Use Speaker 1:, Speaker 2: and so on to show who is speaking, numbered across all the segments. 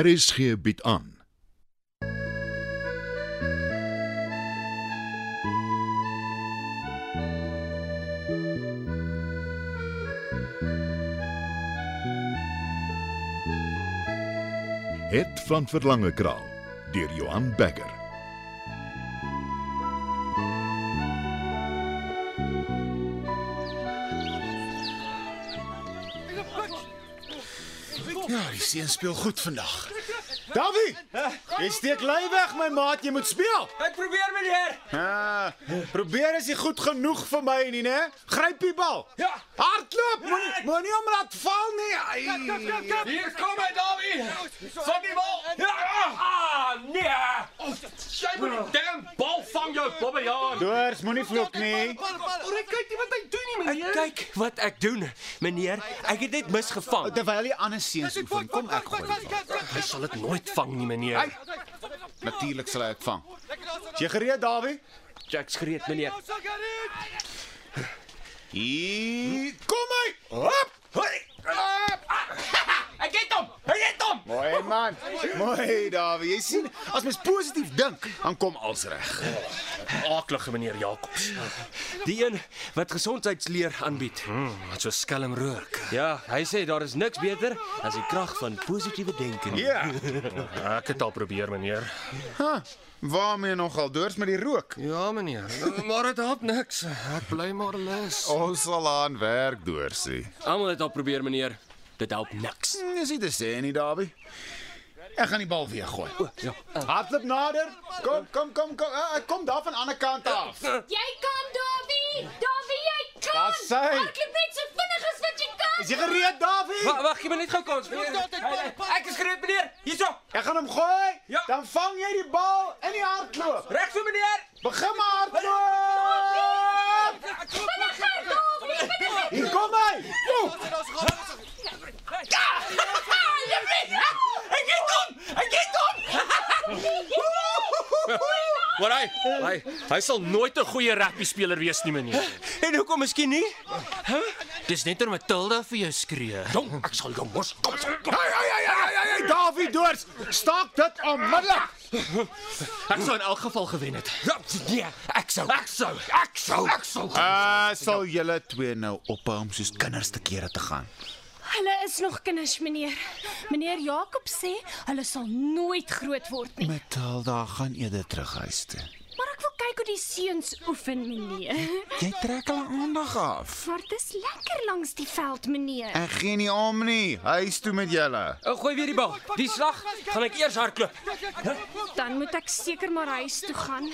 Speaker 1: RSG bied aan. Het van Verlange Kraal deur Johan Becker.
Speaker 2: Ja, die seun speel goed vandag.
Speaker 3: Davie, jy steek lei weg my maat, jy moet speel.
Speaker 2: Ek probeer meneer.
Speaker 3: Ah, probeer as jy goed genoeg vir my nie, né? Gryp die bal.
Speaker 2: Ja.
Speaker 3: Hardloop, moenie moenie hom laat val nie. Ai.
Speaker 2: Hier kom hy Dawie. Vat die bal. Ja. Ah, nee. Jy moet die damn bal vang jou bobbejaan.
Speaker 3: Doors, moenie vloek nie.
Speaker 2: Hoor ek kyk nie wat hy doen nie meneer. Ek kyk wat ek doen. Meneer, ek het net misgevang.
Speaker 3: Terwyl die ander seuns oefen, kom ek gooi.
Speaker 2: Hy sal dit nooit vang nie meneer.
Speaker 3: Ai, natuurlik sal ek vang. Is jy gereed, Davie?
Speaker 2: Jack skree meneer.
Speaker 3: Hier kom hy. Hop. Hoi. Hop.
Speaker 2: Ek het hom. Hy het hom.
Speaker 3: Mooi man. Mooi, Davie. Jy sien, as mens positief dink, dan kom alles reg.
Speaker 4: aaklige meneer Jacobs.
Speaker 2: Die een wat gesondheidsleer aanbied.
Speaker 4: Wat so skelm rook.
Speaker 2: Ja, hy sê daar is niks beter as die krag van positiewe denke. nie.
Speaker 3: Ja.
Speaker 4: Ek het al probeer meneer.
Speaker 3: Ha, waarmee nogal doors met die rook?
Speaker 4: Ja meneer, maar dit help niks. Ek bly maar lus.
Speaker 3: Ons sal aan werk doorsie. Hm,
Speaker 2: Almal het al probeer meneer. Dit help niks.
Speaker 3: Dis dit sê nie, Dawie. Ek gaan die bal weer gooi.
Speaker 2: Ja.
Speaker 3: Hardloop nader. Kom, kom, kom, kom. Ah, Ek kom daar van aan die ander kant af.
Speaker 5: Jy kan, Davie! Davie, jy kan!
Speaker 3: Daar is hy!
Speaker 5: Hardloop net so vinnig as wat jy kan!
Speaker 3: Ja, Is jy gereed, Dawie?
Speaker 2: Wag, wag, gee my net gou kans. meneer. Ek is gereed meneer. Hierso.
Speaker 3: Ek gaan hom gooi.
Speaker 2: Ja.
Speaker 3: Dan vang jy die bal in die hardloop.
Speaker 2: Reg so meneer.
Speaker 3: Begin maar hardloop.
Speaker 5: Vinniger, Davie! Vinniger!
Speaker 3: Hier kom hy. Oef.
Speaker 2: Ek het hom. Ek het hom.
Speaker 4: Maar hy, hy, hy sal nooit 'n goeie rugby speler wees nie meneer.
Speaker 2: En hoekom miskien nie?
Speaker 4: Dis net om Matilda vir jou skree.
Speaker 2: Jong, ek sal jou mos. Kom, kom.
Speaker 3: Hey, hey, hey, hey, hey, hey, Dawie doors. Staak dit onmiddellik.
Speaker 4: Ek sou in elk geval gewen het.
Speaker 2: Ja, nee, ek sou. Ek sou. Ek sou. Ek sou.
Speaker 3: Uh, sal julle twee nou ophou om soos kinders te kere te gaan?
Speaker 5: Hulle is nog kinders, meneer. Meneer Jakob sê hulle sal nooit groot word nie.
Speaker 3: Matilda gaan eerder terug huis toe.
Speaker 5: Maar ek wil kyk hoe die seuns oefen, meneer.
Speaker 3: Jy trek al aandag af.
Speaker 5: Maar dit is lekker langs die veld, meneer.
Speaker 3: Ek gee nie om nie. Huis toe met julle.
Speaker 2: Ou Eh, gooi weer die bal. Die slag gaan ek eers hardloop.
Speaker 5: Dan moet ek seker maar huis toe gaan.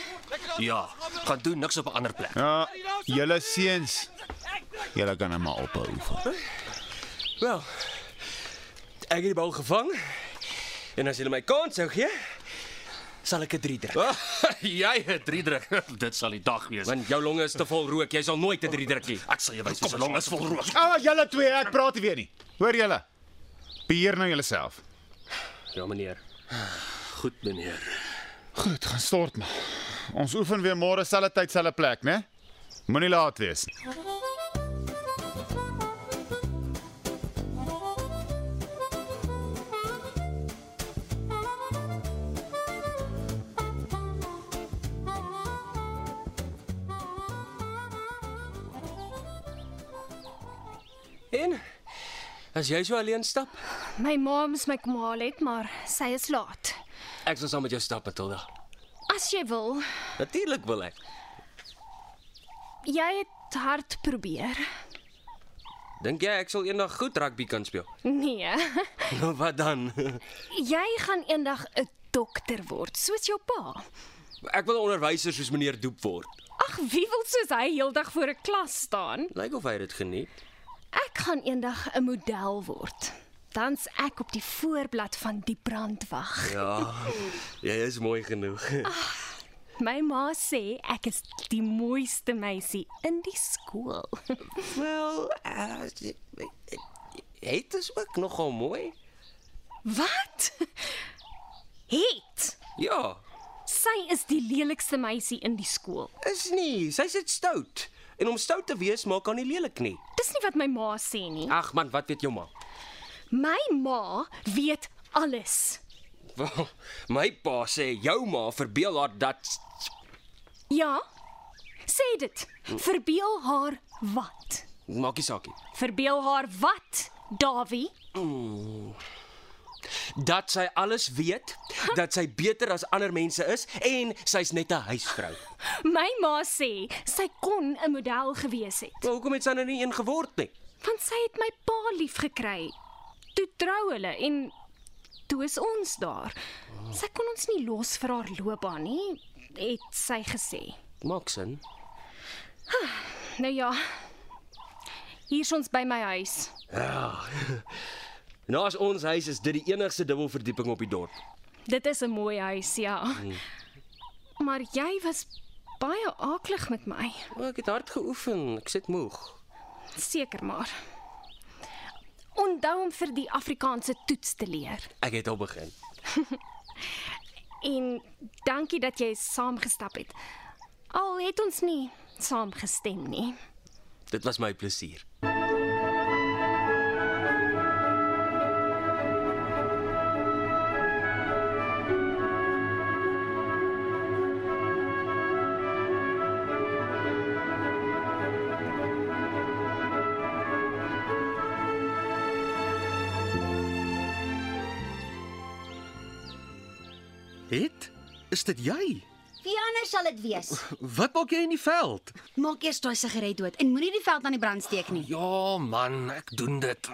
Speaker 4: Ja, gaan doen niks op 'n ander plek.
Speaker 3: Ja, julle seuns. Julle kan hom maar ophou oefen.
Speaker 2: Wel. Ek het die bal gevang. En as jy my kans sou gee, sal ek 'n 3 druk.
Speaker 4: Ah, jy het drie druk. Dit sal die dag wees.
Speaker 2: Want jou longe is te vol rook. Jy sal nooit 'n 3 druk nie.
Speaker 4: Ek sal jou wys hoe so lank is vol rook.
Speaker 3: Al julle twee, ek praat nie weer nie. Hoor julle? Beheer nou julleself.
Speaker 2: Ja, meneer.
Speaker 4: Goed meneer.
Speaker 3: Goed, gaan stort maar. Ons oefen weer môre selfde tyd, selfde plek, né? Moenie laat wees.
Speaker 2: En as jy so alleen stap,
Speaker 5: My ma moes my kom haal het, maar sy is laat.
Speaker 2: ek sal saam met jou stap, Matilda.
Speaker 5: As jy wil,
Speaker 2: Natuurlik wil ek.
Speaker 5: jy het hard probeer.
Speaker 2: Dink jy ek sal eendag goed rugby kan speel?
Speaker 5: Nee.
Speaker 2: Nou wat dan?
Speaker 5: Jy gaan eendag 'n dokter word, soos jou pa.
Speaker 2: Ek wil 'n onderwyser soos meneer Doep word.
Speaker 5: Ag, wie wil soos hy heeldag voor 'n klas staan?
Speaker 2: Lyk of hy dit geniet.
Speaker 5: Ek gaan eendag 'n model word. Dan's ek op die voorblad van die brandwag.
Speaker 2: Ja. Jy is mooi genoeg.
Speaker 5: My ma sê ek is die mooiste meisie in die skool.
Speaker 2: Wel, uh, het is ook nogal mooi.
Speaker 5: Wat? Het.
Speaker 2: Ja,
Speaker 5: Sy is die lelikste meisie in die skool.
Speaker 2: is nie. Sy sit stout. En om stout te wees maak haar nie lelik nie.
Speaker 5: Dis nie wat my ma sê nie.
Speaker 2: Ag man, wat weet jou ma?
Speaker 5: My ma weet alles.
Speaker 2: Wel, my pa sê jou ma verbeel haar dat
Speaker 5: Ja. Sê dit. Verbeel haar wat?
Speaker 2: maak nie saak nie.
Speaker 5: Verbeel haar wat, Dawie?
Speaker 2: Dat sy alles weet, dat sy beter as ander mense is en sy's net 'n huisvrou.
Speaker 5: My ma sê sy kon 'n model gewees het,
Speaker 2: Maar hoekom het sy nou nie een geword nie?
Speaker 5: want sy het my pa lief gekry. Toe trou hulle en toe is ons daar. Sy kon ons nie los vir haar loopbaan nie, het sy gesê.
Speaker 2: Maak sin.
Speaker 5: Nou ja. Hier's ons by my huis.
Speaker 2: Naas Ja. Nou, ons huis is dit die enigste dubbelverdieping op die dorp.
Speaker 5: Dit is 'n mooi huis, ja. Maar jy was baie aaklig met my.
Speaker 2: Maar ek het hard geoefen, ek sit moeg.
Speaker 5: Seker maar. Onthou om vir die Afrikaanse toets te leer.
Speaker 2: Ek het al begin.
Speaker 5: En dankie dat jy saamgestap het. Al het ons nie saamgestem nie.
Speaker 2: Dit was my plesier.
Speaker 6: Het? Is dit jy?
Speaker 7: Wie anders sal dit wees?
Speaker 6: Wat maak jy in die veld?
Speaker 7: Maak eers daai sigaret dood en moenie die veld aan die brand steek nie.
Speaker 4: Ja man, ek doen dit.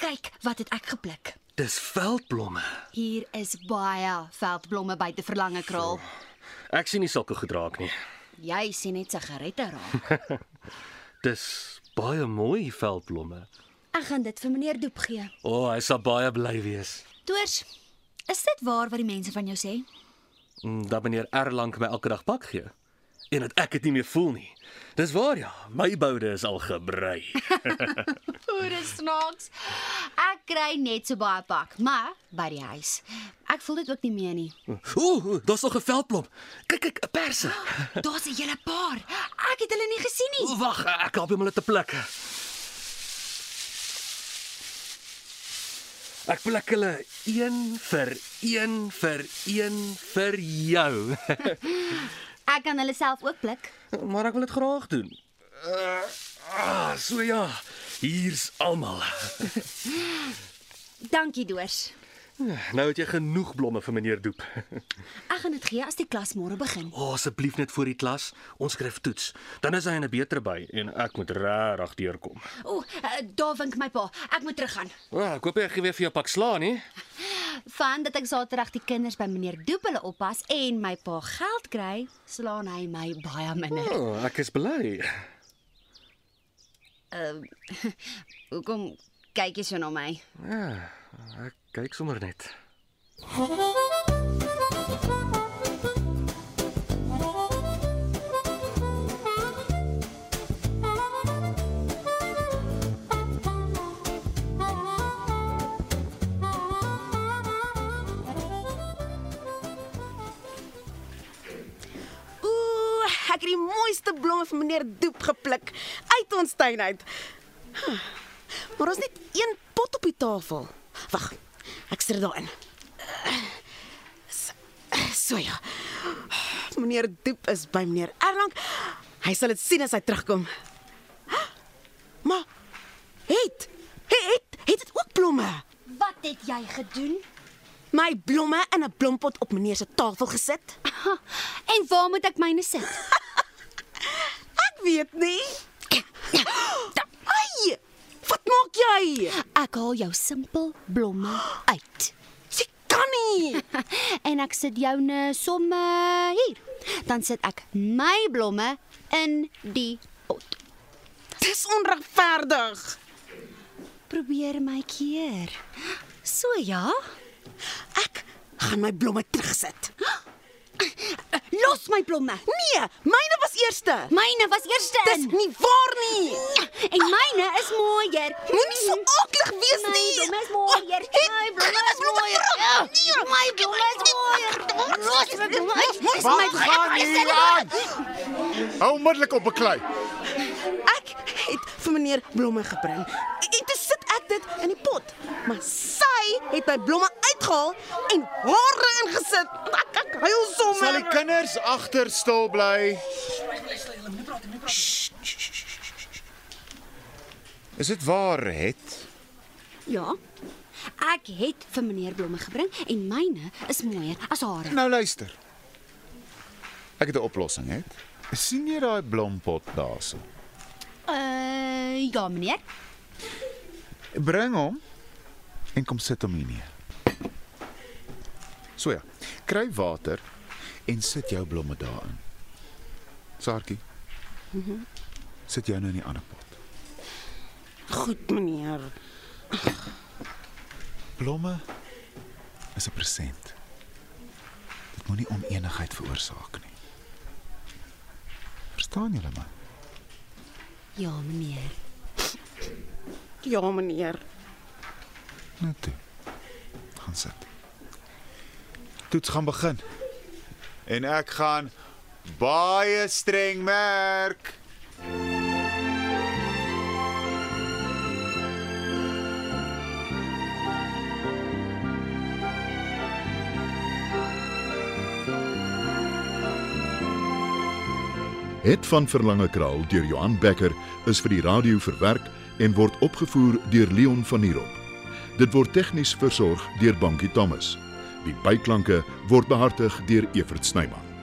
Speaker 7: Kyk wat het ek gepluk.
Speaker 6: Dis veldblomme.
Speaker 7: Hier is baie veldblomme by te verlange kraal.
Speaker 4: Ek sien nie sulke gedraag nie.
Speaker 7: Jy sien net sigarette raak.
Speaker 6: Dis baie mooi veldblomme.
Speaker 7: Ek gaan dit vir meneer Doep gee.
Speaker 6: O, oh, hy sal baie bly wees.
Speaker 7: Toors, is dit waar wat die mense van jou sê?
Speaker 6: Mm, Dat meneer Erlang my elke dag pak gee en dat ek dit nie meer voel nie. Dis waar ja, my boude is al gebrei.
Speaker 7: Oor is snaaks. Ek kry net so baie pak, maar by die huis. Ek voel dit ook nie meer nie.
Speaker 6: Ooh, daar's nog 'n veldblom. Kyk kyk, 'n perse.
Speaker 7: Daar's 'n hele paar. Ek het hulle nie gesien nie.
Speaker 6: O, Wag, ek help hom hulle te pluk. Ek pluk hulle een vir een vir een vir jou.
Speaker 7: Ek kan hulle self ook pluk.
Speaker 6: Maar ek wil dit graag doen. Uh, ah, so ja. Hier's almal.
Speaker 7: Dankie, Doors.
Speaker 6: Nou het jy genoeg blomme vir meneer Doep.
Speaker 7: Ek gaan dit gee as die klas môre begin.
Speaker 6: O, oh, asseblief net voor die klas. Ons skryf toets. Dan is hy in 'n beter by en ek moet regtig deurkom.
Speaker 7: O, eh, daar wink my pa. Ek moet teruggaan.
Speaker 6: O, oh, ek hoop jy gee weer vir jou pak sla nie.
Speaker 7: Van dat ek Saterdag die kinders by meneer Doep hulle oppas en my pa geld kry, slaan hy my baie minder.
Speaker 6: O, oh, ek is bly.
Speaker 7: Hoekom kyk jy so na my?
Speaker 6: Ja, ek kyk sommer net.
Speaker 8: Ooh, ek het die mooiste blomme van meneer Doep gepluk uit ons tuin uit. Huh, Maar ons net een pot op die tafel. Wag. Ek sit dit daarin. So so ja. Meneer Doep is by meneer Erlang. Hy sal dit sien as hy terugkom. Maar het het het dit ook blomme.
Speaker 7: Wat het jy gedoen?
Speaker 8: My blomme in 'n blompot op meneer se tafel gesit.
Speaker 7: Ha, en waar moet ek myne sit?
Speaker 8: Ek weet nie. ja. Ai! Wat maak jy?
Speaker 7: Ek haal jou simpel blomme uit.
Speaker 8: Sy kan nie.
Speaker 7: En ek sit joune somme hier. Dan sit ek my blomme in die pot.
Speaker 8: Dis onregverdig.
Speaker 7: Probeer my keer. So ja,
Speaker 8: Ek gaan my blomme terugsit.
Speaker 7: los my blomme.
Speaker 8: Nee, myne was eerste.
Speaker 7: Myne was eerste
Speaker 8: Dis
Speaker 7: in.
Speaker 8: nie waar nie.
Speaker 7: En myne is mooier.
Speaker 8: Moenie so aaklig wees
Speaker 7: My
Speaker 8: nie. Oh,
Speaker 7: blomme is mooier.
Speaker 8: Het-
Speaker 7: My blomme is mooier. Ja,
Speaker 8: Nee.
Speaker 7: My blomme is mooier. Los Nee, my blomme uit. Los my
Speaker 3: Wat gaan hier aan? Hou onmiddellik op beklei.
Speaker 8: Ek het vir meneer blomme gebring. En toe sit ek dit in die pot. Maar sy het my blomme uitgehaal en hare ingesit. Ek ek huil sommer.
Speaker 3: Sal die kinders agter stil bly? Is dit waar, het?
Speaker 7: Ja. Ek het vir meneer blomme gebring en myne is mooier as hare.
Speaker 3: Nou luister. Ek het 'n oplossing, hè. sien jy daai blompot daarso?
Speaker 7: Uh ja, meneer.
Speaker 3: Bring hom en kom sit hom hier neer. So ja, kry water en sit jou blomme daarin. Saartjie. Mhm. Sit jou nou in die ander pot.
Speaker 8: Goed, meneer.
Speaker 3: Blomme is 'n present. Dit moenie oneenigheid veroorsaak nie. Verstaan julle my?
Speaker 7: Ja, meneer.
Speaker 8: Ja, meneer.
Speaker 3: Net toe. Gaan sit. Toets gaan begin. En ek gaan baie streng merk.
Speaker 1: Het van Verlange Kraal deur Johan Becker is vir die radio verwerk en word opgevoer deur Leon Van Heerop. Dit word tegnies versorg deur Bankie Thomas. Die byklanke word behartig deur Evert Snyman.